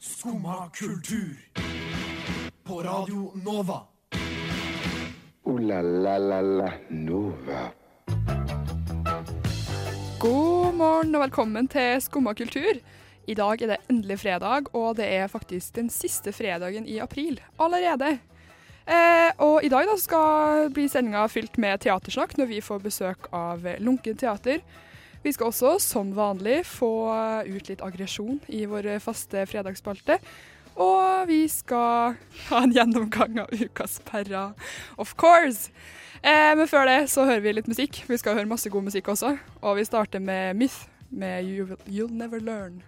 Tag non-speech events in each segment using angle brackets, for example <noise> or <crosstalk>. Skumma kultur. På Radio Nova. Ooh la la la la Nova. God morgen og velkommen til Skumma kultur. I dag er det endelig fredag, og det er faktisk den siste fredagen i april allerede. Eh, og i dag da skal bli sendinga fylt med teatersnakk når vi får besøk av Lunken teater. Vi skal også, som vanlig, få ut litt aggresjon i vår faste fredagsspalte. Og vi skal ha en gjennomgang av ukas perra, of course. Eh, men før det så hører vi litt musikk. Vi skal høre masse god musikk også. Og vi starter med Myth med You Will, You'll Never Learn.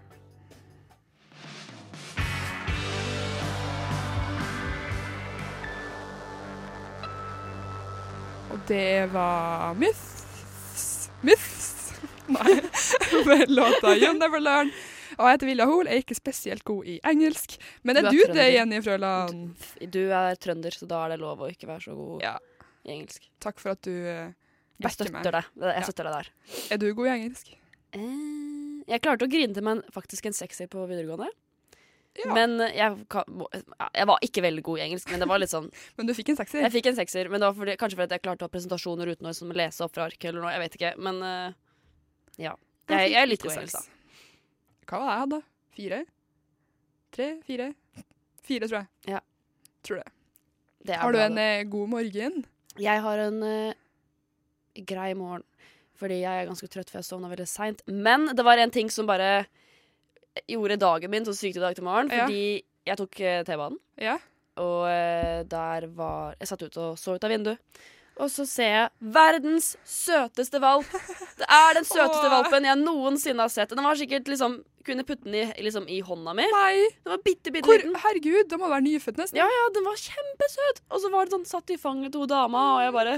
Og det var Myths Myths Nei. <laughs> Med låta You'll Never Learn. Og jeg heter Vilja Hoel, er ikke spesielt god i engelsk. Men er Du er du, det, trønder. Jenny Frøland? Du er trønder, så da er det lov å ikke være så god Ja. i engelsk. Takk for at du eh, Jeg backer meg. støtter deg. Ja. Jeg støtter deg der. Er du god i engelsk? Eh, Jeg klarte å grine til meg en- faktisk en sekser på videregående. Ja. Men jeg, kan- må- ja, jeg var ikke veldig god i engelsk, men det var litt <laughs> sånn Men du fikk en sekser. Jeg fikk en sekser, men det var fordi, kanskje fordi at jeg klarte å ha presentasjoner uten å liksom lese opp fra arket eller noe. Jeg vet ikke, men eh, ja. Jeg, jeg er litt god i engelsk, da. Hva var det jeg hadde? Fire? Tre? Fire? Fire, tror jeg. Ja. Tror det. Det er Har du bra, en det. eh, god morgen? Jeg har en eh, grei morgen, fordi jeg er ganske trøtt, for jeg sovna veldig seint. Men det var en ting som bare gjorde dagen min så sykt i dag til morgen, Ja. fordi jeg tok eh, T-banen, Ja. og eh, der var Jeg satt ute og så ut av vinduet. Og så ser jeg verdens søteste valp. Det er den søteste Åh. valpen jeg noensinne har sett. Den var sikkert liksom Kunne putte den i, liksom, i hånda mi. Nei! Den var bitte, bitte Hvor, liten. herregud, da må du være nyfødt <laughs> nesten. Ja, ja, den var kjempesøt. Og så var det sånn satt i fanget til hun dama, og jeg bare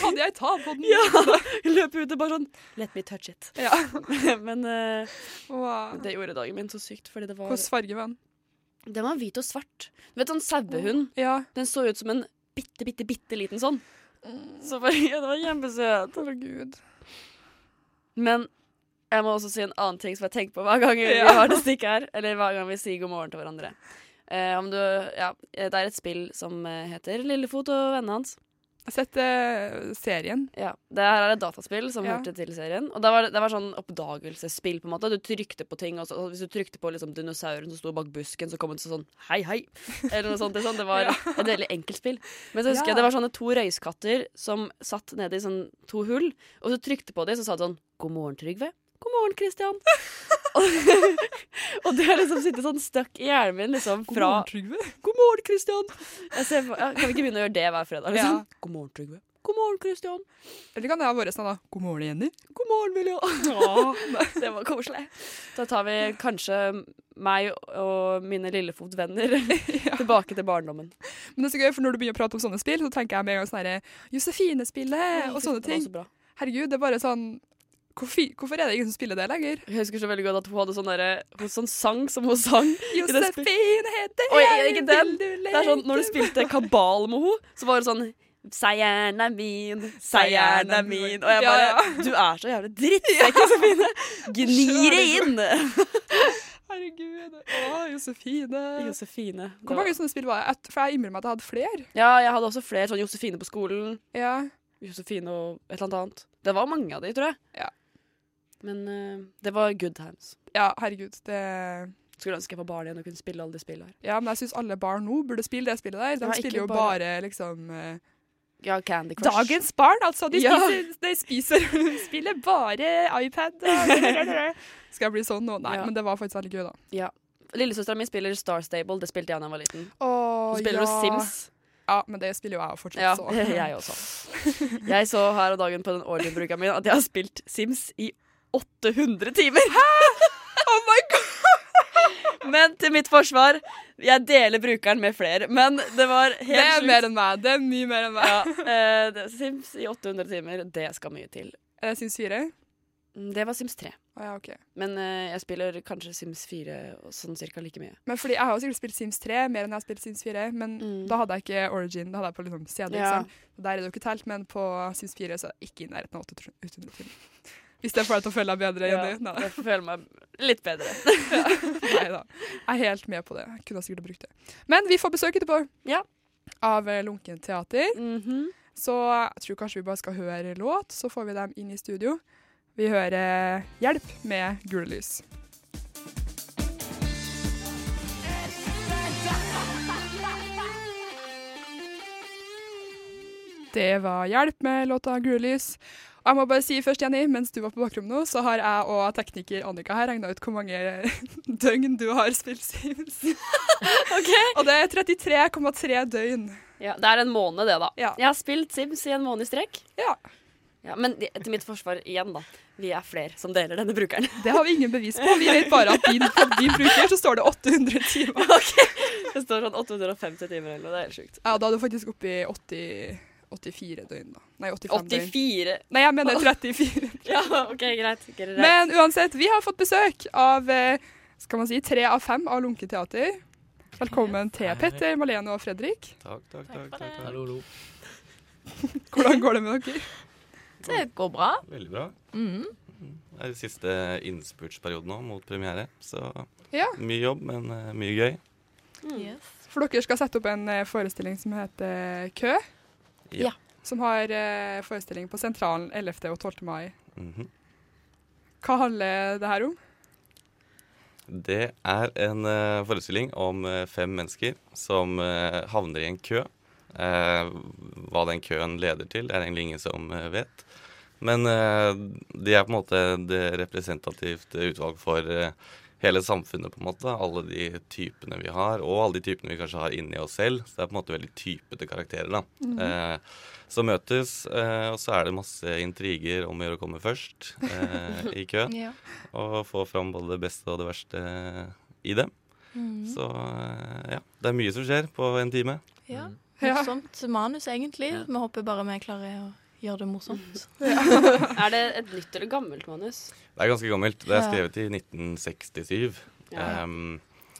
Kan jeg ta på den? <laughs> Ja! Løp ut og bare sånn Let me touch it. Ja. <laughs> Men eh, Wow. det gjorde dagen min så sykt, fordi det var Hvordan farge var den? Den var hvit og svart. Du vet sånn sauehund? Ja. Den så ut som en bitte, bitte, bitte liten sånn. Så bare <laughs> ja, Den var kjempesøt. Herregud. Men jeg må også si en annen ting som jeg tenker på hver gang vi Ja. <laughs> har det stikket her. Eller hver gang vi sier god morgen til hverandre. Eh, om du, ja, det er et spill som eh, heter Lillefot og vennene hans. Jeg har sett eh, serien. Ja, Det her er et dataspill som Ja. hørte til serien. Og det var, det var sånn oppdagelsesspill. på en måte Du trykte på ting. Og så, og hvis du trykte på liksom, dinosauren som sto bak busken, så kom den sånn hei, hei. Eller noe sånt. Det, er sånn, det <laughs> var Ja. et veldig enkelt spill. Men så husker Ja. jeg det var sånne to røyskatter som satt nede i sånn to hull. Og så trykte på dem, så sa det sånn God morgen, Trygve. God morgen, Christian. <laughs> og, <laughs> og det har liksom sittet sånn støkk i hjernen min liksom God fra morgen, Trygve. God morgen, Christian! Jeg ser, for- ja, kan vi ikke begynne å gjøre det hver fredag? Liksom? Ja. God morgen, Trygve. God morgen, Christian. Eller kan det ha vært sånn, da? God morgen, Jenny. God morgen, <laughs> Vilja. det var koselig. Da tar vi kanskje meg og mine lillefotvenner <laughs> tilbake til barndommen. Men det er så gøy, for når du begynner å prate om sånne spill, så tenker jeg med en gang sånn herre Josefine-spillet og sånne Det var ting. så bra. Herregud, det er bare sånn Hvorfor, hvorfor er det ingen som spiller det <laughs> lenger? Jeg husker så veldig godt at hun hadde sånn, derre- hun sånn sang som hun sang. det spill- Josefine heter Oi, jeg, ikke den. vil du Det er sånn, Når du leke spilte kabal med henne, så var det sånn Seieren er min, seieren er min. Og jeg bare Ja, Du er så jævlig drittsekk, Josefine! Gni det inn! med- Herregud. Å, Josefine. Josefine. det Hvor var- mange sånne spill var det? Jeg- For jeg innbiller meg at jeg hadde flere. Ja, jeg hadde også flere sånn Josefine på skolen. Ja. Josefine og et eller annet annet. Det var mange av de, tror jeg. Ja. Men eh, det var good times. ja, herregud. Det Skulle ønske jeg var barn igjen og kunne spille alle de spillene her. Ja, men jeg syns alle barn nå burde spille det spillet der. De Ja, ikke spiller jo bare, bare- liksom eh, Ja, Candy Crush. Dagens barn, altså. De Ja. spiser, de spiser <laughs> spiller bare iPad. <laughs> og- Skal jeg bli sånn nå? Nei, Ja. men det var faktisk veldig gøy, da. Lillesøstera mi spiller Star Stable. Det spilte jeg da jeg var liten. Å, Hun spiller jo Sims. Ja, men det spiller jo jeg fortsatt. Ja, så. <laughs> jeg også. Jeg så her om dagen på den årlige bruka min at jeg har spilt Sims i 800 timer. Oh my god! Men til mitt forsvar, jeg deler brukeren med flere. Men det var Det er helt mer sjukt. enn meg. Det er mye mer enn meg. Ja, eh, det- Sims i 800 timer, det skal mye til. Er det Eh, Sims 4? Mm, Det var Sims 3. Å, ja, ok. Men eh, jeg spiller kanskje Sims 4 og sånn cirka like mye. Men fordi Jeg har jo sikkert spilt Sims 3 mer enn jeg har spilt Sims 4, men Mm. da hadde jeg ikke Origin. Da hadde jeg på liksom CD. Ja. ikke sant? Der er det jo ikke telt, men på Sims 4 så er det ikke i nærheten av 800 timer. Hvis det får deg til å føle deg bedre, Jenny. Nei. jeg føler meg litt bedre. <laughs> Nei da. Jeg er helt med på det. Jeg kunne sikkert ha brukt det. Men vi får besøk etterpå Ja. av eh, Lunken teater. Så jeg tror kanskje vi bare skal høre låt, så får vi dem inn i studio. Vi hører eh, 'Hjelp' med gule lys. Det var 'Hjelp' med låta 'Gule lys'. Og jeg må bare si først, Jenny, mens du var på bakrommet nå, så har jeg og tekniker Annika her regna ut hvor mange døgn du har spilt <laughs> Sims. Og det er 33,3 døgn. <laughs> Ja, det er en måned, det, da. Ja. Jeg har spilt Sims i en måned i strekk. Ja. Ja, men de- til mitt forsvar igjen, da. Vi er flere som deler denne brukeren. Det har vi ingen bevis på. Vi vet bare at din, på din bruker så står det 800 timer. <laughs> Det står sånn 850 timer eller noe. Det er helt sjukt. Ja, da er du faktisk oppe i 80, 84 døgn, da. Nei, 85 døgn. 84. Nei, jeg mener 34. <laughs> Ja, OK, greit. greit. Men uansett, vi har fått besøk av eh, skal man si, tre av fem av Lunke teater. Velkommen til Petter, Malene og Fredrik. Takk, takk, takk. for takk, takk, Hallo, hallo. Hvordan går det med dere? Det går bra. Veldig bra. Det er siste innspurtsperiode nå mot premiere, så Ja. mye jobb, men eh, mye gøy. For dere skal sette opp en eh, forestilling som heter Kø. Ja. Som har eh, forestilling på Sentralen 11. og 12. mai. Mhm. Hva handler det her om? Det er en eh, forestilling om eh, fem mennesker som eh, havner i en kø. Eh, hva den køen leder til, er egentlig ingen som eh, vet. Men eh, de er på en måte det representativt utvalg for eh, hele samfunnet, på en måte. Alle de typene vi har, og alle de typene vi kanskje har inni oss selv. Så det er på en måte veldig typete karakterer, da. Eh, som møtes, eh, og så er det masse intriger om å gjøre å komme først eh, i køen og få fram både det beste og det verste i dem. Så eh, ja, det er mye som skjer på en time. Ja. Mm. Ja. Morsomt manus, egentlig. Vi håper bare vi klarer å gjøre det morsomt. Er det et nytt eller gammelt manus? Det er ganske gammelt. Det er Ja. skrevet i 1967. Ja. Ehm,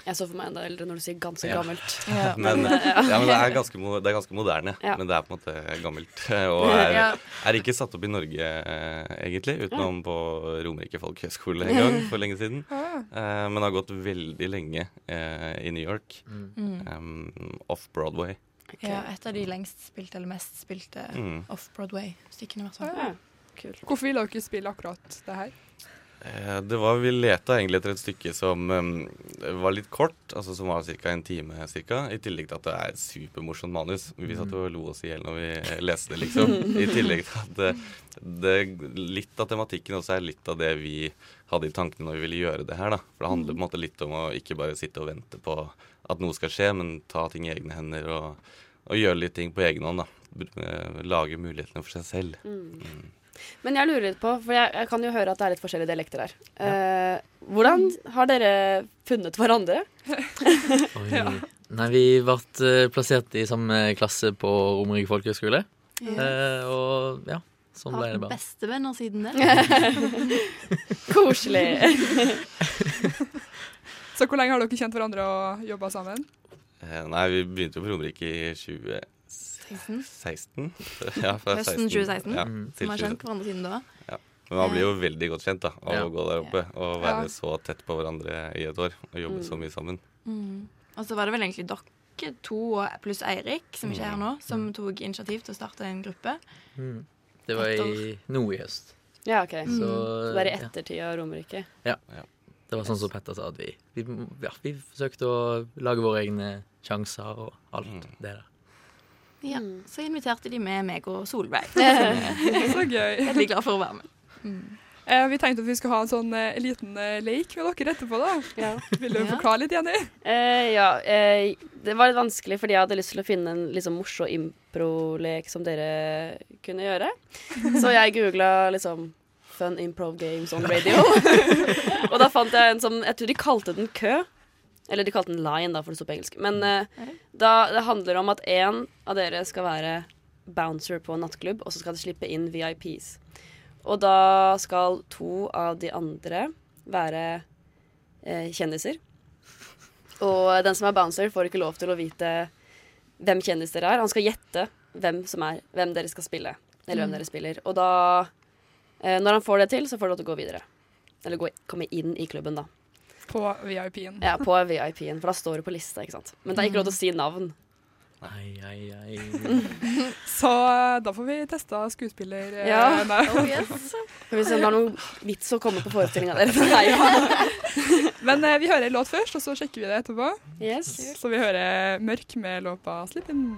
Jeg så for meg enda eldre når du sier ganske Ja. gammelt. <laughs> Ja. Mm. <laughs> <laughs> men, ja, men det, er ganske, mo- det er ganske moderne, Ja. men det er på en måte gammelt. eh, Og er, Ja. er ikke satt opp i Norge, eh, egentlig, utenom på Romerike folkehøgskole en gang for lenge siden. Ah. Eh, men har gått veldig lenge eh, i New York. Mm. Ehm, Off-Broadway. ja, et av de lengst spilte, eller mest spilte, Mm. off-Broadway-stykkene, i hvert fall. Ja. Hvorfor ville dere spille akkurat det her? Eh, Det var, Vi leta egentlig etter et stykke som eh, var litt kort, altså som var ca. en time. Cirka, I tillegg til at det er et supermorsomt manus. Vi satt og lo oss i hjel når vi eh, leste det, liksom. I tillegg til at det, det, litt av tematikken også er litt av det vi hadde i tankene når vi ville gjøre det her. da. For det handler på en måte litt om å ikke bare sitte og vente på at noe skal skje, men ta ting i egne hender og, og gjøre litt ting på egen hånd. da. Br- eh, Lage mulighetene for seg selv. Mm. Men jeg lurer litt på, for jeg, jeg kan jo høre at det er litt forskjellige dialekter her. Eh, hvordan har dere funnet <laughs> hverandre? Oi. Nei, vi ble eh, plassert i samme klasse på Romerike folkehøgskole. Eh, og ja, sånn ble Har det vært bare. bestevenner siden det. <laughs> Koselig. Så hvor lenge har dere kjent hverandre og jobba sammen? Eh, Nei, vi begynte jo på Romerike i 2016. <laughs> Ja, fra Høsten 16, Ja, Mm. Vi til har 2017. kjent hverandre siden da. Men man blir jo veldig godt kjent da, av Ja. å gå der oppe og være Ja. så tett på hverandre i et år og jobbe så mye sammen. Mm. Og så var det vel egentlig dere to og pluss Eirik, som ikke er Mm. her nå, som tok initiativ til å starte en gruppe. Mm. Det var i nå i høst. Ja, OK. Mm. Så, Så det er i ja, ettertid av Romerike. det var sånn som Petter sa, at vi, vi, ja, vi forsøkte å lage våre egne sjanser og alt det der. Ja. Så inviterte de med meg og Solveig. <laughs> Så gøy. Veldig glad for å være med. Eh, vi tenkte at vi skulle ha en sånn eh, liten eh, leik med dere etterpå, da. Ja. Vil du Ja. forklare litt, Jenny? Eh, ja eh, det var litt vanskelig fordi jeg hadde lyst til å finne en liksom, morsom improlek som dere kunne gjøre. Så jeg googla liksom Fun improv games on radio. og da fant jeg en som Jeg tror de kalte den kø. Eller de kalte den line, da, for det sto på engelsk. Men eh, da, det handler om at én av dere skal være bouncer på en nattklubb, og så skal de slippe inn VIPs. Og da skal to av de andre være eh, kjendiser. Og den som er bouncer, får ikke lov til å vite hvem kjendis Mm. dere er. Han skal gjette hvem, som er, hvem dere skal spille, eller hvem dere spiller. Og da Eh, når han får det til, så får du lov til å gå videre. Eller gå, komme inn i klubben, <laughs> da. På VIP-en. Ja, på VIP-en, for da står du på lista, ikke sant. Men det er ikke lov til å si navn. Ai, ai, ai. <laughs> Så eh, da får vi testa skuespiller... eh, Ja. nei. Oh, <laughs> yes. For hvis det er noen vits å komme på forestillinga deres. Nei, <laughs> ja. Men eh, vi hører en låt først, og så sjekker vi det etterpå. Yes. Så vi hører Mørk med låta 'Slippen'.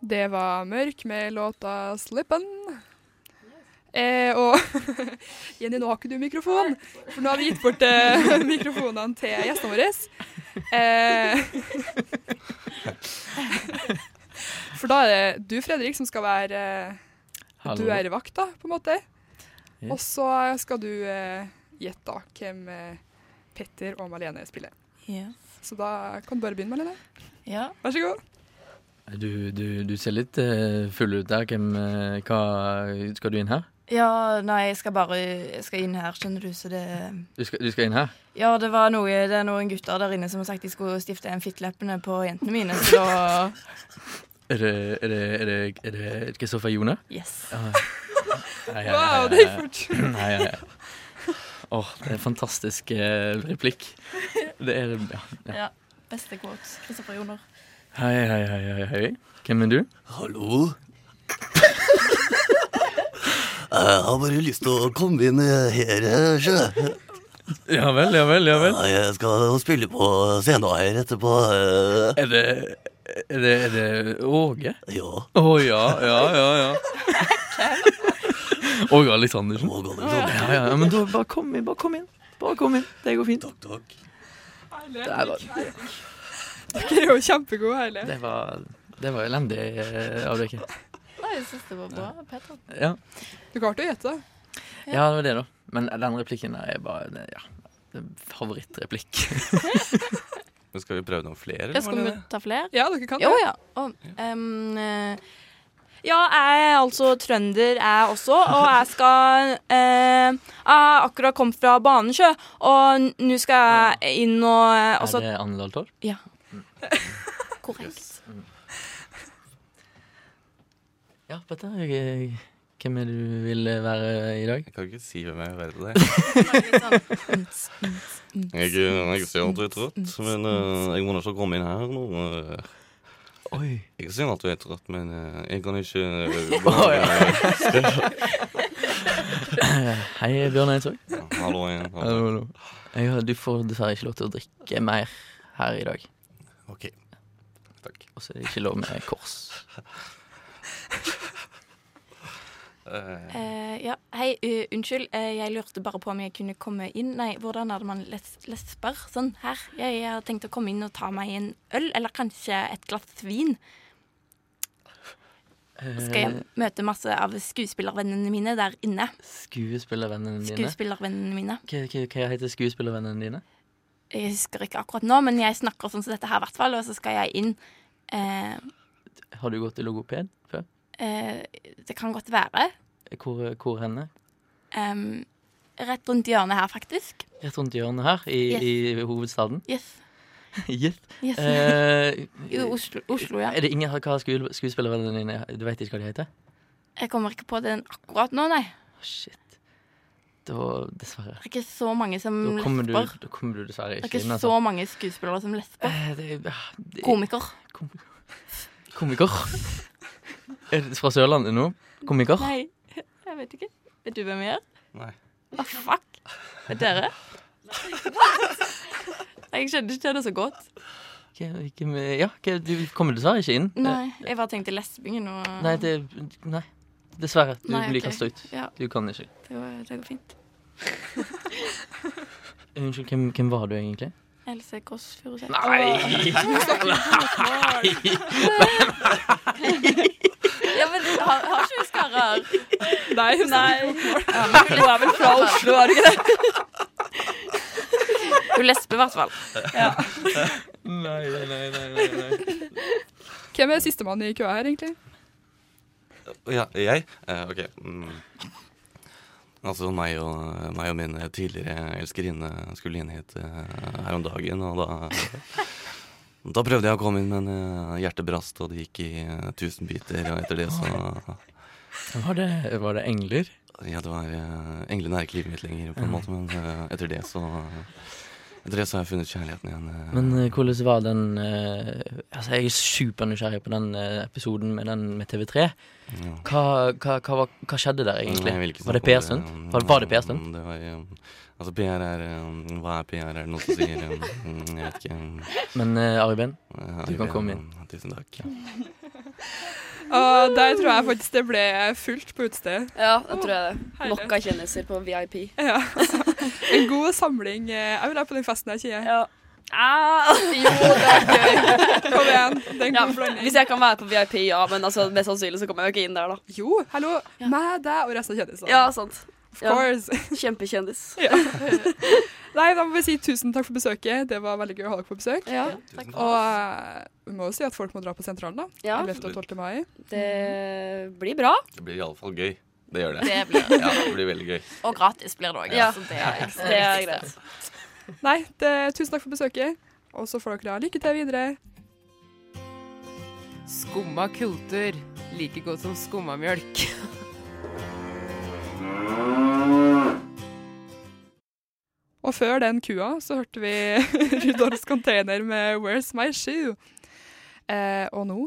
Det var Mørk med låta 'Slippen'. Eh, og <laughs> Jenny, nå har ikke du mikrofon, for nå har vi gitt bort eh, <laughs> mikrofonene til gjestene våre. Eh, <laughs> for da er det du, Fredrik, som skal være eh, Hallo. du er vakt, da, på en måte. Yes. Og så skal du eh, gjette da hvem eh, Petter og Malene spiller. Yes. Så da kan du bare begynne, Malene. Ja. Vær så god. Du, du, du ser litt eh, full ut der. Hvem, eh, hva, skal du inn her? ja, nei, jeg skal bare jeg skal inn her, skjønner du, så det Du skal, du skal inn her? Ja, det, var noe, det er noen gutter der inne som har sagt de skulle stifte en fittleppene på jentene mine, så da <laughs> Er det, er det, er det, er det Kristoffer Jone? Yes. Wow, det gikk fort. Nei, nei, nei. Åh, det er en fantastisk eh, replikk. Det er det, ja. Beste quote. Kristoffer Joner. Hei, hei, hei, hei, hei. Hvem er du? Hallo? <laughs> Jeg har bare lyst til å komme inn her, sjø. Ja vel, ja vel, ja vel. Jeg skal spille på scenen her etterpå. Er det, er det, er det Åge? Ja. Å ja, ja, ja, ja. Åge Aleksandersen. Må gå litt Ja, sånn. ja, ja, men da bare kom inn, bare kom inn. Bare kom inn, det går fint. Takk, takk. Det var, Dere er jo kjempegode, hele. det var, det var elendig eh, avbrekket. Nei, jeg syns det var bra. Petter. Ja. Du klarte å gjette. da. ja, det var det da. Men den replikken der er bare, det- ja, det er en favorittreplikk. Men skal vi prøve noen flere? Ja, skal vi ta flere? Ja, dere kan Jo, det. ja. Og, ehm, eh, ja, jeg er altså trønder, jeg også, og jeg skal eh, Jeg har akkurat kommet fra Banesjø, og n- nå skal jeg inn og eh, og så- Er det Anne Dahltorp? Korrekt. Ja, Petter, jeg- jeg- hvem er det du vil være i dag? Jeg kan ikke si hvem jeg er til det. Jeg, eh, jeg ser at du er trøtt, men eh, jeg må ikke komme inn her nå. eh. Oi. Jeg ser at du er trøtt, men eh, jeg kan ikke eh, <laughs> Å, Hei, Bjørn Eidsvåg. Hallo igjen. Hallo, hallo. Jeg, hører- du får dessverre ikke lov til å drikke mer her i dag. OK. Takk. Og så er det ikke lov med kors. Eh, Eh, ja, hei, eh, unnskyld. eh, jeg lurte bare på om jeg kunne komme inn. Nei, hvordan er det man les lesber sånn her? Jeg, jeg har tenkt å komme inn og ta meg en øl, eller kanskje et glass vin. Skal jeg møte masse av skuespillervennene mine der inne? Eh, Skuespillervennene dine? Skuespillervennene mine. Hva, hva, hva heter skuespillervennene dine? Jeg husker ikke akkurat nå, men jeg snakker sånn som dette her, i hvert fall. Og så skal jeg inn. Eh, Har du gått til logoped før? Eh, eh, det kan godt være. Hvor, hvor henne? Em, rett rundt hjørnet her, faktisk. Rett rundt hjørnet her, i, i hovedstaden. Yes. <laughs> Yes. yes. Eh, I Oslo, Oslo, ja. er det ingen Hva har skuespill- skuespillervennene dine Du vet ikke hva de heter? Jeg kommer ikke på den akkurat nå, nei. Å, Shit. Det var dessverre. Det er ikke så mange som Da kommer, du, lesber. da kommer du dessverre Det er ikke inn. Mm, altså. ikke så mange skuespillere som lesber. Eh, det, er- ah, det, er- Komiker. kom- Komiker. Er det fra Sørlandet nå? Komiker? Nei, <laughs> jeg vet ikke. Vet du hvem jeg er? Nei. Hva fuck? Vet dere? Nei, jeg skjønner ikke det så godt. Ikke- ikke med- Ja, ikke- du kommer dessverre ikke inn. Eh, Nei, jeg bare tenkte lesbingen og Nei, det Nei. Dessverre. Du Nei, blir ok. kastet ut. Ja. Du kan ikke. det, går, det går fint. Unnskyld, hvem, hvem var du egentlig? Else Kåss Furuseth. Nei! Ja, men du har, har ikke du <laughs> skarrer? Nei, hun snakker ikke. Ja, men hun er vel fra Oslo, er du ikke det? Hun lesber i hvert fall. Nei, nei, nei, nei, nei. Hvem er sistemann i køa her, egentlig? ja, jeg? Eh, OK. Mm. Altså, meg og, meg og min tidligere elskerinne skulle inn hit eh, her om dagen, og da Da prøvde jeg å komme inn, men eh, hjertet brast, og det gikk i eh, tusen biter. Og etter det så Var det, var det engler? Ja, det var eh, Englene er ikke livet mitt lenger, på en måte, men eh, etter det så Etter det så har jeg funnet kjærligheten igjen. eh. Men eh, hvordan var den eh, Altså, jeg er supernysgjerrig på den eh, episoden med, den med TV3. Ja. Hva, hva, hva, var- hva skjedde der, egentlig? Nei, jeg vil ikke var det snakke om PR-stunt? um, Var, var det PR-stunt? um, det var, um, Altså, PR er um, Hva er PR, er det noen som <laughs> sier? Um, mm, jeg vet ikke. um, Men uh, Arben, eh, Du kan Arve, komme um, Tusen takk. Og Ah, der tror jeg faktisk det ble fullt på utestedet. Ja, da tror jeg det. herlig. Nok av kjendiser på VIP. Ja. En god samling. eh, Jeg vil være på den festen her, Kie. Ja. Ah, <laughs> jo, det er gøy. Kom igjen. Det er en Ja, god blanding. hvis jeg kan være på VIP, ja. Men altså, mest sannsynlig så kommer jeg jo ikke inn der, da. Jo, hallo. Meg, deg og resten av kjendisene. Ja, sant. of ja. course. Kjempekjendis. Nei, da må vi si tusen takk for besøket. Det var veldig gøy å ha dere på besøk. Ja, Tusen Og eh, vi må jo si at folk må dra på sentralen, da. ja 11. og 12. mai. det blir bra. Det blir iallfall gøy. Det gjør det. Det blir, Ja, det blir veldig gøy. og gratis blir det òg. Ja. Så det er ekstra Altså, Det er viktig. greit. Nei, det, tusen takk for besøket. Og så får dere ha lykke til videre. Skumma kultur. Like godt som skummamjølk. Og før den kua så hørte vi <laughs> Rudolfs container med 'Where's My Shoe'. Eh, og nå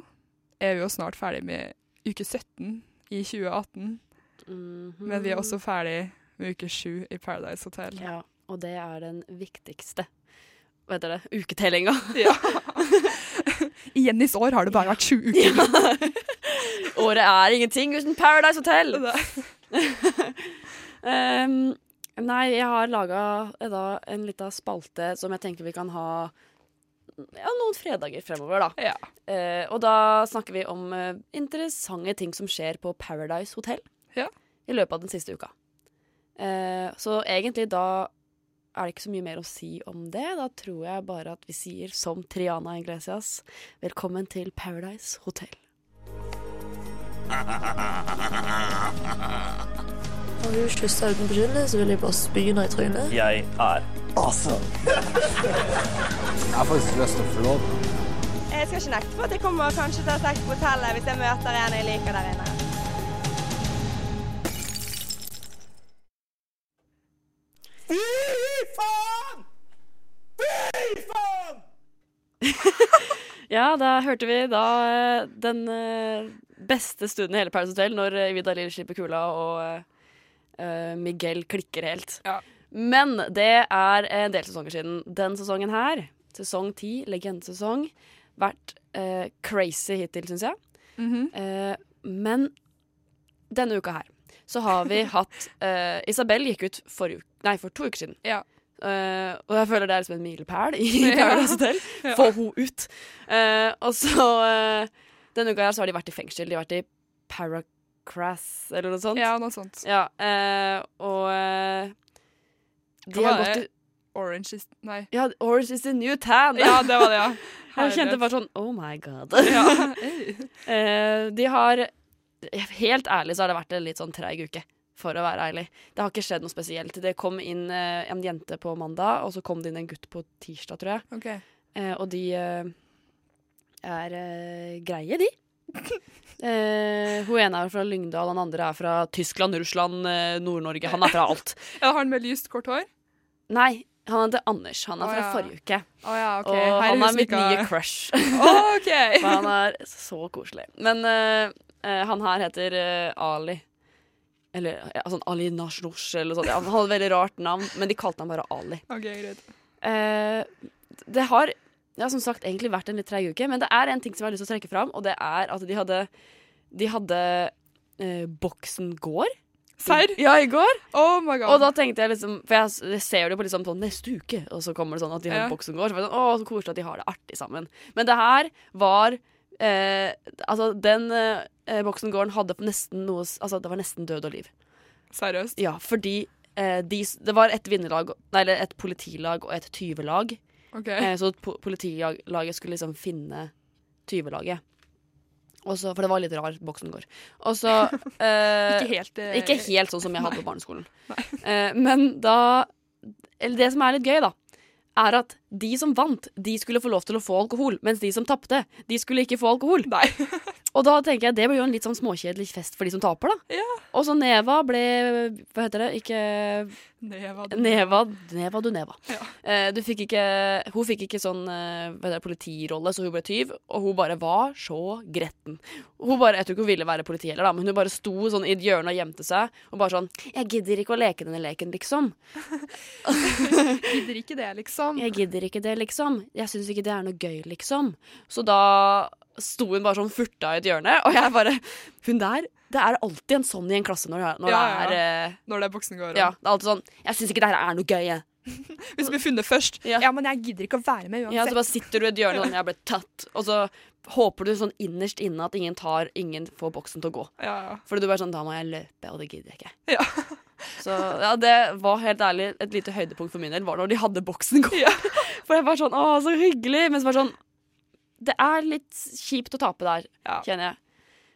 er vi jo snart ferdig med uke 17 i 2018, Mhm. men vi er også ferdig med uke 7 i Paradise Hotel. Ja, og det er den viktigste. Hva heter det? Uketellinga. I Jennys år har det bare vært sju uker. <laughs> Året er ingenting uten Paradise Hotel! <laughs> Ehm, nei, jeg har laga da en lita spalte som jeg tenker vi kan ha ja, noen fredager fremover, da. Ja. Eh, og da snakker vi om eh, interessante ting som skjer på Paradise Hotel Ja. i løpet av den siste uka. Eh, så egentlig da er det ikke så mye mer å si om det. Da tror jeg bare at vi sier som Triana Iglesias, velkommen til Paradise Hotel. Har du kyssa uten beskyldning, så vil jeg bare spy henne i trynet. Jeg er Jeg skal ikke nekte på at jeg kommer kanskje til å ha sex på hotellet hvis jeg møter en jeg liker der inne. Ja, da hørte vi da eh, den eh, beste stunden i hele Paradise Hotel, når eh, Vidar Lill slipper kula og eh, eh, Miguel klikker helt. Ja. Men det er en del sesonger siden. Den sesongen her, sesong ti, legendesesong, vært eh, crazy hittil, syns jeg. Mhm. Eh, men denne uka her så har <laughs> vi hatt eh, Isabel gikk ut forrige uke, nei, for to uker siden. Ja. Eh, og jeg føler det er liksom en milepæl <laughs> i Paradise Hotel. Ja. Få henne ut! Eh, og så eh, Denne uka her så har de vært i fengsel. De har vært i Paracrass eller noe sånt. <laughs> Ja, noe sånt. Ja, eh, og eh, de Hva har var gått det? i Orange is Nei. Ja, Orange is the new tan! <laughs> Ja, det var det, <laughs> ja. jeg kjente bare sånn Oh my god. sånn, ja. <laughs> Eh, de har Helt ærlig så har det vært en litt sånn treig uke, for å være ærlig. Det har ikke skjedd noe spesielt. Det kom inn eh, en jente på mandag, og så kom det inn en gutt på tirsdag, tror jeg. <laughs> OK. Eh, og de eh, er eh, greie, <laughs> de. Eh, hun ene er fra Lyngdal, han andre er fra Tyskland, Russland, eh, Nord-Norge. Han er fra alt. Ja, har han med lyst, kort hår? Nei, han heter Anders. Han Å, er fra ja. forrige uke. Å ja, OK. Og Her han hun er mitt som ikke nye har- <laughs> crush. Å, <laughs> OK. For han er så koselig. Men eh, eh, han her heter eh, Ali. Eller ja, sånn Ali Nashnosh eller noe sånt. Ja, Han hadde et veldig rart navn, men de kalte han bare Ali. OK, greit. Eh, det har ja, som sagt egentlig vært en litt treig uke, men det er en ting som jeg har lyst til å trekke fram, og det er at de hadde, de hadde eh, Boksen går. Serr? Ja, i går. Oh my god. Og da tenkte jeg liksom For jeg s- jeg ser det jo på liksom sånn neste uke, og så kommer det sånn at de har Ja. boksen går. Så var jeg sånn, Å, så koselig at de har det artig sammen. Men det her var eh, Altså, den eh, boksen gården hadde nesten noe s- Altså, det var nesten død og liv. Seriøst. Ja, fordi eh, de, s- det var et vinnerlag, nei, eller et politilag og et tyvelag. OK. Eh, så po politilaget skulle liksom finne tyvelaget. Og så, for det var litt rar boksen går. Og så <laughs> eh, Ikke helt eh, ikke helt sånn som jeg hadde på barneskolen. Eh, men da Eller det som er litt gøy, da, er at de som vant, de skulle få lov til å få alkohol, mens de som tapte, de skulle ikke få alkohol. <laughs> og da tenker jeg det blir jo en litt sånn småkjedelig fest for de som taper, da. Og så Neva ble Hva heter det? Ikke Neva, Neva, Neva du Neva. Eh, du fikk ikke, hun fikk ikke sånn eh, hva heter det, politirolle, så hun ble tyv. Og hun bare var så gretten. Hun bare, Jeg tror ikke hun ville være politi heller, da, men hun bare sto sånn i et hjørne og gjemte seg. Og bare sånn 'Jeg gidder ikke å leke denne leken, liksom. <laughs> Gidder ikke det, liksom. Jeg gidder ikke det, liksom. Jeg syns ikke det er noe gøy, liksom.' Så da sto hun bare sånn furta i et hjørne, og jeg bare Hun der Det er alltid en sånn i en klasse når, det er- når Ja, ja, det er eh, Når det er boksen går ja, det er alltid sånn 'Jeg syns ikke det her er noe gøy', jeg. Hvis du blir funnet først. Ja. Ja. men jeg gidder ikke å være med Ja, uansett. så bare sitter du i et hjørne sånn, jeg ble tatt. Og så håper du sånn innerst inne at ingen tar, ingen får boksen til å gå. Ja, ja. Fordi du bare sånn, da må jeg løpe, og det gidder jeg ikke. Ja. Så ja, det var helt ærlig et lite høydepunkt for min del, var når de hadde boksen gå. <laughs> For jeg var sånn, å, så hyggelig. Men så var det sånn, det er litt kjipt å tape der, Ja. kjenner jeg.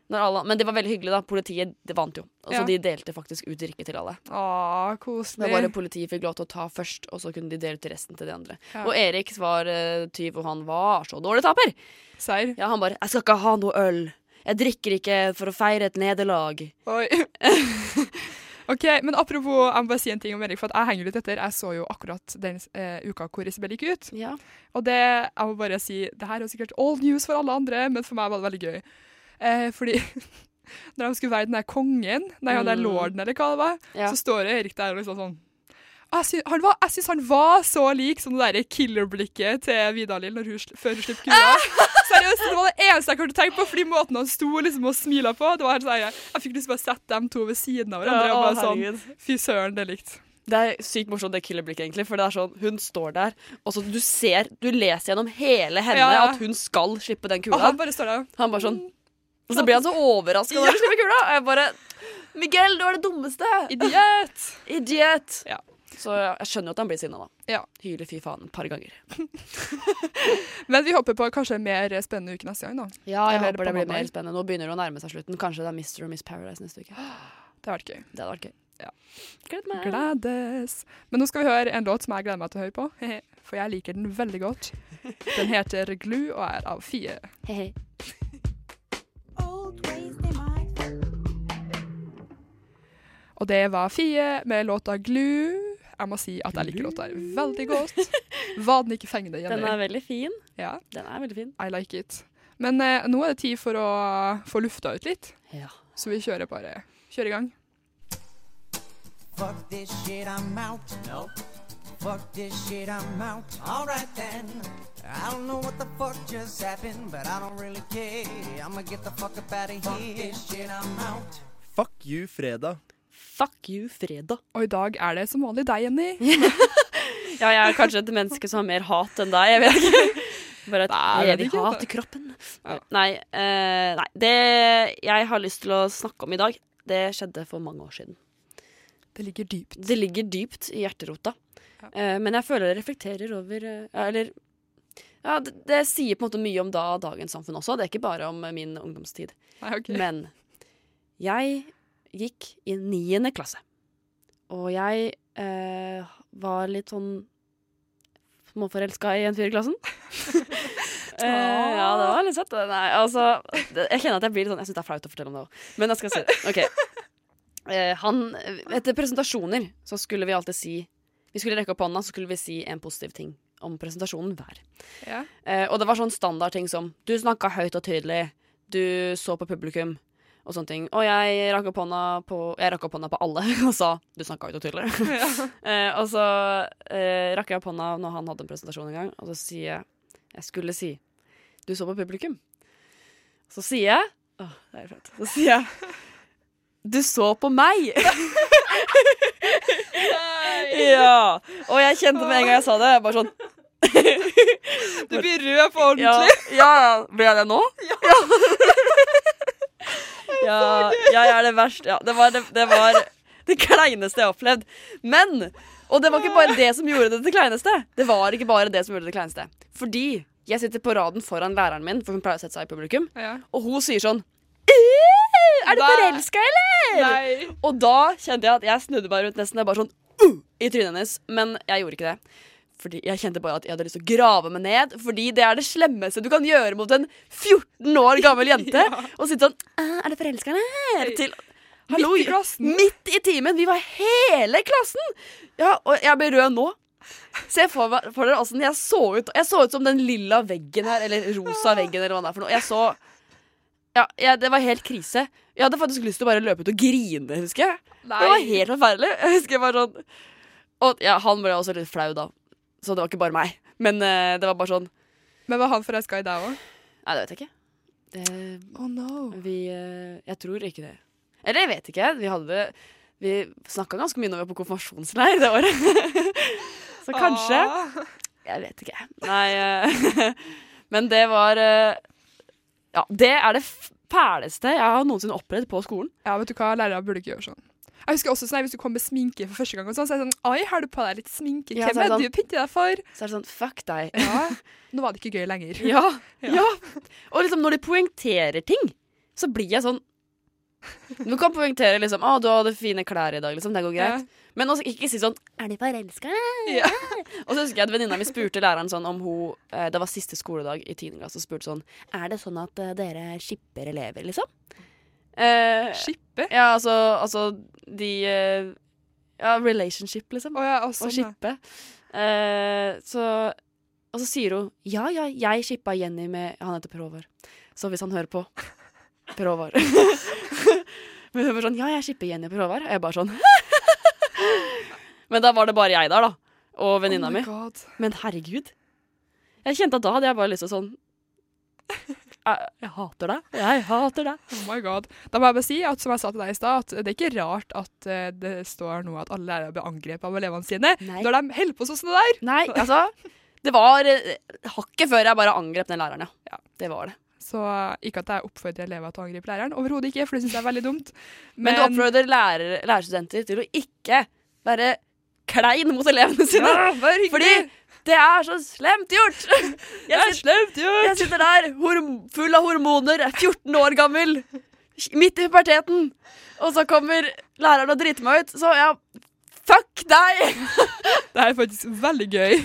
Når alle, men det var veldig hyggelig da, politiet det vant jo. Og så Ja. de delte faktisk ut drikke til alle. Å, Det koselig. var bare politiet fikk lov til å ta først, og så kunne de dele ut til resten til de andre. Ja. Og Erik var eh, tyv, og han var så dårlig taper. Seier. Ja, han bare 'Jeg skal ikke ha noe øl. Jeg drikker ikke for å feire et nederlag'. Oi. <laughs> OK, men apropos, jeg må bare si en ting om Erik, for at jeg henger litt etter. Jeg så jo akkurat den eh, uka hvor Isabel gikk ut. Ja. Og det, jeg må bare si, det her er jo sikkert old news for alle andre, men for meg var det veldig gøy. Eh, fordi <laughs> når de skulle være den der kongen, nei, han der Mm. lorden eller hva det var, Ja. så står jo Erik der og liksom sånn «Ah, Jeg syns han, var- jeg synes han var så lik som det der killer-blikket til Vidar-Lill når hun sl- før hun slipper kula. Seriøst, Det var det eneste jeg klarte å tenke på, fordi måten han sto liksom og smila på det var helt sånn, Jeg, jeg fikk lyst til å bare sette dem to ved siden av hverandre. og bare sånn, Fy søren, det er likt. Det er sykt morsomt det killerblikket, egentlig. For det er sånn, hun står der, og så du ser Du leser gjennom hele henne Ja, ja. at hun skal slippe den Og kula. han bare står der. «Mm, Han bare sånn Og så blir han så overraska når du slipper kula. Og jeg bare Miguel, du er det dummeste! Idiot! Idiot! Ja. Så ja, jeg skjønner jo at han blir sinna, da. Ja. Hyler fy faen et par ganger. Men vi håper på kanskje en mer spennende uke neste gang, da. Ja, jeg jeg håper håper det på blir mandag. mer spennende. Nå begynner det å nærme seg slutten. Kanskje det er Mr. og Miss Paradise neste uke. Det hadde vært gøy. Det hadde vært gøy. Ja. Gled meg. Gledes. Men nå skal vi høre en låt som jeg gleder meg til å høre på, <laughs> for jeg liker den veldig godt. Den heter Glu og er av Fie. Hei, hei. Og det var Fie med låta Glu. Jeg må si at jeg liker låta her veldig godt. Var den ikke fengende, Den Jenny? er veldig fin. Ja, Den er veldig fin. I like it. Men eh, nå er det tid for å få lufta ut litt, Ja. så vi kjører bare kjører i gang. Fuck this shit, I'm out. No. Fuck this shit, I'm out. Alright then. I don't know what the fuck just happened, but I don't really care. I'ma get the fuck up out of here. Fuck this shit, I'm out. Fuck you, fredag. Fuck you, fredag. Og i dag er det som vanlig deg, Jenny. Ja, jeg er kanskje et menneske som har mer hat enn deg. Jeg vet ikke. <laughs> Bare et Nei, jeg vet evig ikke. hat i kroppen. Ja. Nei, eh, nei. Det jeg har lyst til å snakke om i dag, det skjedde for mange år siden. Det ligger dypt. Det ligger dypt i hjerterota. Ja. Eh, men jeg føler det reflekterer over eh, ja, Eller ja, det, det sier på en måte mye om da dagens samfunn også. Det er ikke bare om eh, min ungdomstid. Nei, <laughs> ok. Men jeg gikk i niende klasse. Og jeg eh, var litt sånn småforelska i en fyr i klassen. <laughs> <laughs> eh, ja, det var litt søtt. det. Nei, altså det- Jeg kjenner at jeg blir litt sånn Jeg syns det er flaut å fortelle om det òg, men jeg skal si det. Ok. <laughs> Eh, han, etter presentasjoner så skulle vi alltid si Vi skulle rekke opp hånda, så skulle vi si en positiv ting om presentasjonen hver. Ja. Eh, og det var sånn standardting som Du snakka høyt og tydelig. Du så på publikum. Og sånne ting. Og jeg rakk opp hånda på, jeg rakk opp hånda på alle <laughs> og sa 'du snakka høyt og tydelig'. <laughs> eh, og så eh, rakk jeg opp hånda når han hadde en presentasjon en gang, og så sier jeg Jeg skulle si 'du så på publikum'. Så sier jeg Åh, det er flaut. Så sier jeg 'du så på meg'. ja. Og jeg kjente med en gang jeg sa det, jeg bare sånn Du blir rød på ordentlig. ja, ja, ja. Blir jeg det nå? Ja. ja. jeg er det verste. Ja, det var det, det var det kleineste jeg har opplevd. Men Og det var ikke bare det som gjorde det til kleineste. Det var ikke bare det som gjorde det til kleineste. Fordi jeg sitter på raden foran læreren min, for hun pleier å sette seg i publikum, Ja. og hun sier sånn «Øh, Er du Nei. forelska, eller? Nei. «Øh», Og da kjente jeg at jeg snudde meg rundt nesten. Jeg bare sånn uh, i trynet hennes. Men jeg gjorde ikke det. Fordi Jeg kjente bare at jeg hadde lyst til å grave meg ned, fordi det er det slemmeste du kan gjøre mot en 14 år gammel <laughs> jente. Og sitte sånn «Æ, Er det forelskeren her? Til Hallo, i klassen. Midt i timen! Vi var hele klassen! Ja, og jeg ble rød nå. Se for, meg- for dere åssen jeg så ut. Jeg så ut som den lilla veggen her, eller rosa veggen, eller hva det er for noe. Jeg så Ja, jeg, det var helt krise. Jeg hadde faktisk lyst til å bare løpe ut og grine, husker jeg. Det var helt forferdelig. <laughs> Jeg husker bare sånn Og ja, han ble også litt flau, da. Så det var ikke bare meg. Men eh, det var bare sånn Men var han forelska i deg òg? Nei, det vet jeg ikke. Det, Oh no. vi eh, Jeg tror ikke det. Eller jeg vet ikke. Vi hadde Vi snakka ganske mye når vi var på konfirmasjonsleir det året. <laughs> Så kanskje. Jeg vet ikke. Nei eh, <laughs> Men det var eh, Ja, det er det f- fæleste jeg har noensinne opplevd på skolen. Ja, vet du hva, lærere burde ikke gjøre sånn. Jeg husker også sånn, her, Hvis du kom med sminke for første gang, og sånn, så er det sånn Oi, har du på deg litt sminke? Ja, så Hvem er er sånn det det du pynter deg <laughs> for? Så er det sånn Fuck deg. Ja, Nå var det ikke gøy lenger. <laughs> Ja, ja. Og liksom når de poengterer ting, så blir jeg sånn Du kan poengtere liksom 'Å, du hadde fine klær i dag', liksom. Det går greit. Men også ikke si sånn 'Er du forelska?' Ja. <laughs> Og så husker jeg at venninna mi spurte læreren sånn om hun eh, Det var siste skoledag i 10. klasse, og spurte sånn 'Er det sånn at eh, dere shipper elever', liksom? Eh, Skippe? ja, altså, altså de eh, Ja, relationship, liksom Å ja, og og sånn, ja. shippe. Eh, så, og så sier hun ja, ja, jeg shippa Jenny med Han heter Per Håvard. Så hvis han hører på Per Håvard. <laughs> Men hun var sånn ja, jeg shipper Jenny og Per Håvard. Og jeg bare sånn <laughs> Men da var det bare jeg der, da. Og venninna Oh my mi. God. Men herregud. Jeg kjente at da hadde jeg bare lyst til sånn jeg, jeg hater deg. Jeg hater deg. Oh my god. Da må jeg bare si, at, som jeg sa til deg i stad, at det er ikke rart at eh, det står nå at alle lærere blir angrepet av elevene sine Nei. når de holder på sånn som det der. Nei, altså. Det var eh, hakket før jeg bare angrep den læreren, ja. ja. Det var det. Så eh, ikke at jeg oppfordrer elever til å angripe læreren, overhodet ikke, for det syns jeg er veldig dumt. Men, du oppfordrer lærer, lærerstudenter til å ikke være klein mot elevene sine. Ja, vær hyggelig. fordi det er så slemt gjort! Det er <laughs> Jeg, sit, slemt gjort! jeg sitter der horm- full av hormoner, er 14 år gammel, midt i puberteten, og så kommer læreren og driter meg ut. Så ja, fuck deg! Det er faktisk veldig <laughs> gøy.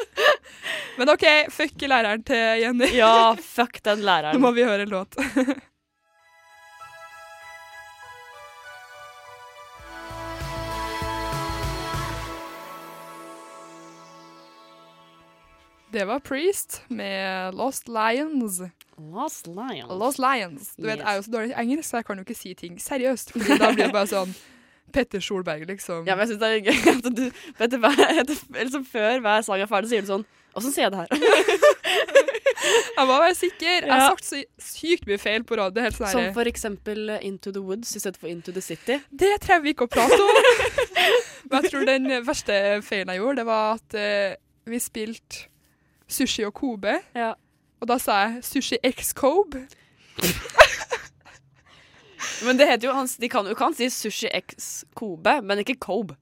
<laughs> Men OK, fuck læreren til Jenny. Ja, fuck den <laughs> Nå læreren. må vi høre en låt. <laughs> Det var Priest med Lost Lions. Last lion. Lost Lions. Du vet, Yes. Jeg er jo så dårlig i engelsk, så jeg kan jo ikke si ting seriøst. Fordi da blir det bare sånn Petter Solberg, liksom. Ja, men jeg synes det er gøy at du, vet du, hver, etter, liksom Før hver sang er ferdig, sier du sånn Åssen sier jeg det her? Jeg må være sikker. Jeg Ja. har sagt så sykt mye feil på radio. det er Helt sånn Som her- for eksempel eh, Into the Woods i stedet for Into the City. Det trenger vi ikke å prate om. <laughs> Men jeg tror den verste feilen jeg gjorde, det var at eh, vi spilte sushi og Kobe. Ja. Og da sa jeg sushi x Kobe. Men det heter jo, han, de kan jo kan si Sushi X Kobe, men ikke Kobe.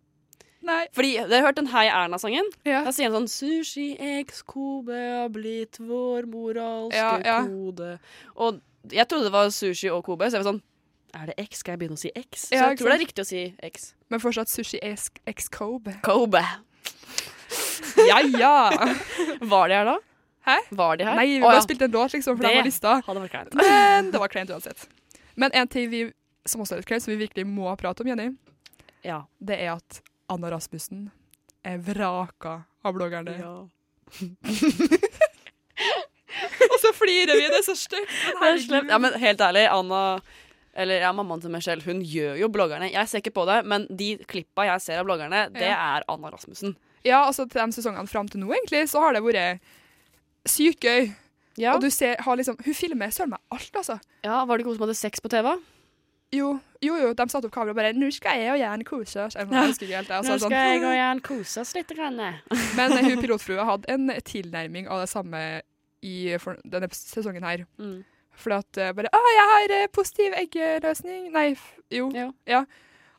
Nei. Fordi Dere har hørt den Hei Erna-sangen? Ja. Da sier han sånn Sushi X Kobe har blitt vår moralske Ja, ja. kode. Og jeg trodde det var sushi og Kobe, så jeg var sånn Er det X? Skal jeg begynne å si X? Så Ja, jeg ikke tror det er sant? riktig å si X. Men fortsatt sushi x X Kobe. Kobe. Ja, ja. Var de her da? Hæ? Var de her? Nei, vi Å, bare ja. spilte en låt, liksom, for Det den var lista. Hadde vært kleint. Men det var kleint uansett. Men en ting vi, som også er litt kleint, som vi virkelig må prate om, Jenny, Ja. det er at Anna Rasmussen er vraka av bloggerne. <laughs> Og så flirer vi, det er så stygt. men Det er herregud. slemt. Ja, men helt ærlig, Anna eller ja, mammaen til Michelle, hun gjør jo bloggerne. Jeg ser ikke på det, men de klippa jeg ser av bloggerne, det Ja. er Anna Rasmussen. Ja, altså til de sesongene fram til nå, egentlig, så har det vært sykt gøy. Ja. Og du ser, har liksom, hun filmer søren meg alt, altså. Var det ikke hun som hadde sex på TV? Jo, jo, jo, de satte opp kamera og bare 'Nå skal jeg og Jern kose oss'. Jeg husker ikke helt det. og så er det sånn. og Jan kose oss litt. Grann. Men eh, hun pilotfrua hadde en tilnærming av det samme i for, denne sesongen her. Mm. Fordi at eh, bare 'Å, jeg har eh, positiv eggløsning'. Nei, f jo. Ja. ja.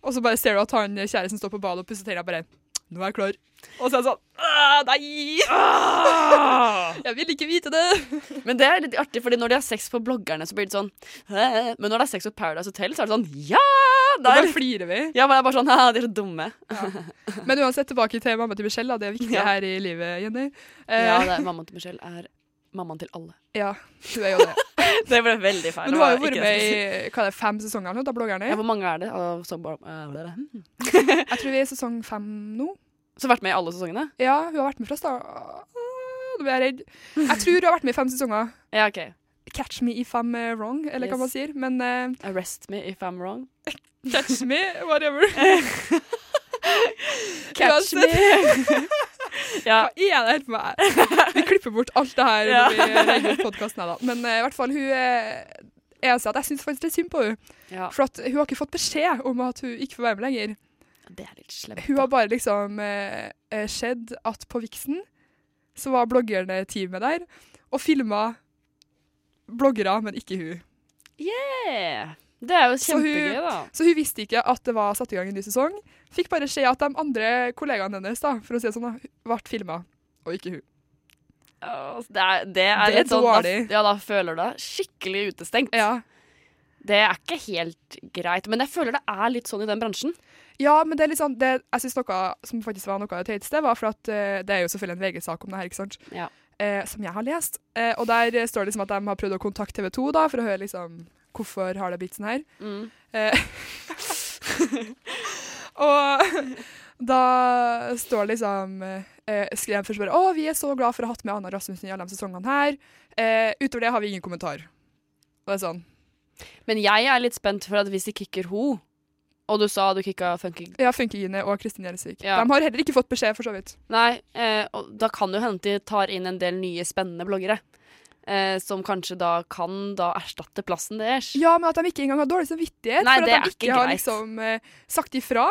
Og så bare ser du at han eh, kjæresten står på badet og pusser tenna bare 'Nå er jeg klar'. <laughs> Og så er det sånn «Åh, Nei! Ah! Jeg vil ikke vite det! <laughs> Men det er litt artig, fordi når de har sex på bloggerne, så blir det sånn «Hæ?» Men når det er sex på Paradise Hotel, så er det sånn Ja! Da Da er- flirer vi. Ja, men jeg er bare sånn Haha, de er så dumme. Men uansett, tilbake til mamma til Michelle. Da. Det er viktig <laughs> Ja. her i livet, Jenny. Eh, Ja, det er, mammaen til Michelle er mammaen til alle. ja, hun er jo det. <laughs> Det ble veldig feil. Men du har jo vært med i hva er det, fem sesonger eller noe, da, bloggerne. Ja, hvor mange er det? av som bare- eh, det er det. Hmm. Jeg tror vi er i sesong fem nå. Så vært med i alle sesongene? Ja, hun har vært med fra start. Nå blir jeg redd. Jeg tror hun har vært med i fem sesonger. Ja, ok. Catch me if I'm eh, wrong, eller hva Yes. man sier. Men eh, Arrest me if I'm wrong. catch me, <laughs> whatever. Catch me. ja. Hva er det her for meg? <laughs> Vi klipper bort alt det her Ja. når vi legger ut podkasten. Men eh, i hvert fall, hun eh, er altså at jeg syns faktisk det er synd på hun. <laughs> ja. For at hun har ikke fått beskjed om at hun ikke får være med lenger. Det er litt slemt. Hun har bare liksom eh, eh, sett at på Vixen så var bloggerne teamet der og filma bloggere, men ikke hun. Yeah. Det er jo Så hun- kjempegøy, da. Så hun visste ikke at det var satt i gang en ny sesong. Fikk bare se at de andre kollegaene hennes da, for å si det sånn, da, ble filma, og ikke hun. Åh, Det er, det er, Det er litt sånn, da- dårlig. Ja, da føler du deg skikkelig utestengt. Ja, Det er ikke helt greit, men jeg føler det er litt sånn i den bransjen. ja men det er litt sånn, det, jeg synes noe som faktisk var noe av det tøyeste, var for at eh, det er jo selvfølgelig en VG-sak om det her, ikke sant? Ja. Eh, som jeg har lest. Eh, og der eh, står det liksom at de har prøvd å kontakte TV 2 da, for å høre liksom, hvorfor har det blitt sånn her. Mm. Eh, <laughs> og da står det liksom eh, Skrev først bare Å, vi er så glad for å ha hatt med Anna Rasmussen i alle de sesongene her. Eh, utover det har vi ingen kommentar. Og det er sånn. Men jeg er litt spent for at hvis de kicker ho Og du sa du kicka Funky Ja, Funkygine og Kristin Gjelsvik. Ja. De har heller ikke fått beskjed, for så vidt. Nei, eh, og da kan det jo hende at de tar inn en del nye spennende bloggere. Eh, som kanskje da kan da erstatte plassen deres. Ja. Ja, men at de ikke engang har dårlig samvittighet Nei, for det at er de ikke ikke har greit. liksom eh, sagt ifra.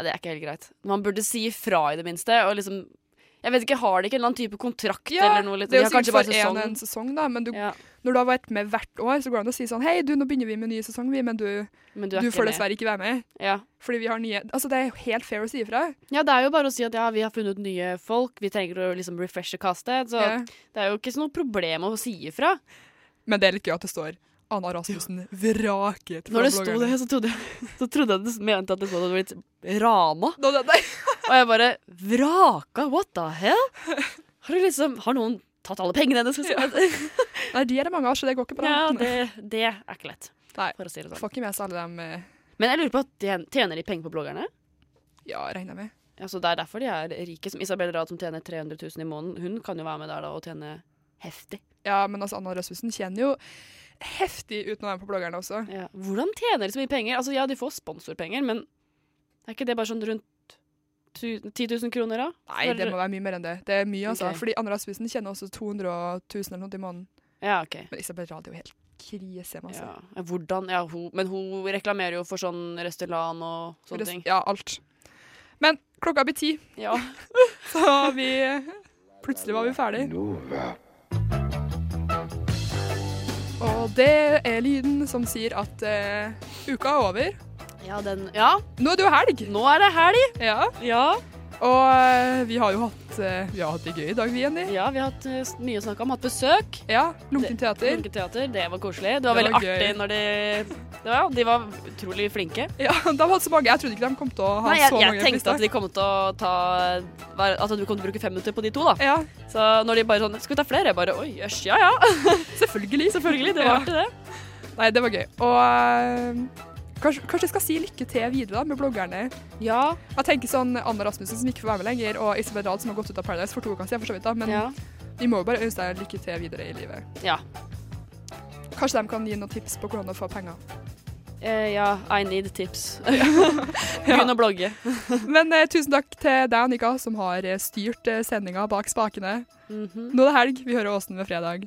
Det er ikke helt greit. Man burde si ifra i det minste. Og liksom Jeg vet ikke, har de ikke en eller annen type kontrakt Ja, eller noe? Liksom. det er jo de har sikkert kanskje for bare en, sesong. en sesong, da, men du, Ja, når du har vært med hvert år, så går det an å si sånn Hei, du, nå begynner vi med ny sesong, vi, men du, men du, du er ikke får med. dessverre ikke være med. Ja. Fordi vi har nye Altså, det er jo helt fair å si ifra. ja, det er jo bare å si at ja, vi har funnet nye folk, vi trenger å liksom refreshe castet. Så Ja. det er jo ikke så noe problem å si ifra. Men det er litt gøy at det står Anna Rasmussen vraket fra Når det sto det, bloggerne. så trodde jeg, <laughs> så trodde jeg det mente at det stod at det var litt rana. Nå, det, nei. Og jeg bare Vraka? What the hell? Har, du liksom, har noen tatt alle pengene hennes? Liksom? nei, de er det mange av, så det går ikke <laughs> Ja, bra. det, det er ikke lett. Nei. For å si det sånn. Får ikke med seg alle dem eh, Men jeg lurer på, tjen- tjener de penger på bloggerne? Ja, regner jeg med. Altså, det er derfor de er rike. Som Isabel Rad, som tjener 300 000 i måneden, hun kan jo være med der da og tjene heftig. Ja, men altså, Anna Rasmussen tjener jo heftig uten å være med på bloggerne også. Ja. Hvordan tjener de så mye penger? Altså, ja, de får sponsorpenger, men er ikke det bare sånn rundt tu- 10 000 kroner, da? Nei, For- det må være mye mer enn det. Det er mye, altså. Ok. Fordi Anna Rasmussen tjener også 200 000 eller noe i måneden. Ja, OK. Men Isabel Rad er jo helt krise, altså. masse. Ja. Hvordan Ja, hun Men hun reklamerer jo for sånn restaurant og sånne ting. Ja, alt. Men klokka blir ti, <laughs> Ja. så vi Plutselig var vi ferdig. Nova. Og det er lyden som sier at eh, uka er over. Ja, den, ja, Nå er det jo helg! nå er det helg! Ja. Ja, Og eh, vi har jo hatt, eh, vi har hatt det gøy i dag, vi, Jenny. ja vi har hatt eh, mye å snakke om. Hatt besøk. Ja, Lunken teater. Lunketeater. Det var koselig. Det var Det veldig var artig gøy. når de det var, De var utrolig flinke. Ja, <laughs> de hadde så mange. Jeg trodde ikke de kom til å ha Nei, jeg, så mange jeg tenkte at de kom til å ta hver- At du kom til å bruke fem minutter på de to, da. Ja, Så når de bare sånn Skal vi ta flere? Jeg bare Oi, jøss, ja ja. selvfølgelig. Selvfølgelig. Det Ja. var artig, det. Nei, det var gøy. Og eh, kanskje, kanskje jeg skal si lykke til videre da, med bloggerne. Ja. Jeg tenker sånn Anna Rasmussen som ikke får være med lenger, og Isabel Dahl som har gått ut av Paradise for to uker siden, for så vidt. da, Men ja. vi må jo bare ønske deg lykke til videre i livet. Ja. Kanskje de kan gi noen tips på hvordan å få penger. Eh, ja. I need <laughs> tips. Begynn å blogge. <laughs> Men eh, tusen takk til deg, Annika, som har eh, styrt eh, sendinga bak spakene. Mhm. Nå er det helg. Vi hører Åsen ved fredag.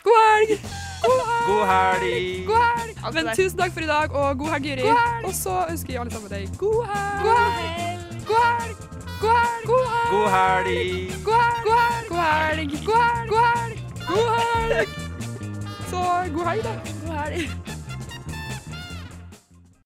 God helg! God helg! God helg! God helg! Men tusen takk for i dag, og god helg, Juri. Og så ønsker vi alle sammen deg god helg! God helg! God helg! God helg! God helg! God helg! God helg! God helg! God helg! God helg! God helg! God helg! Så god helg, da. God helg.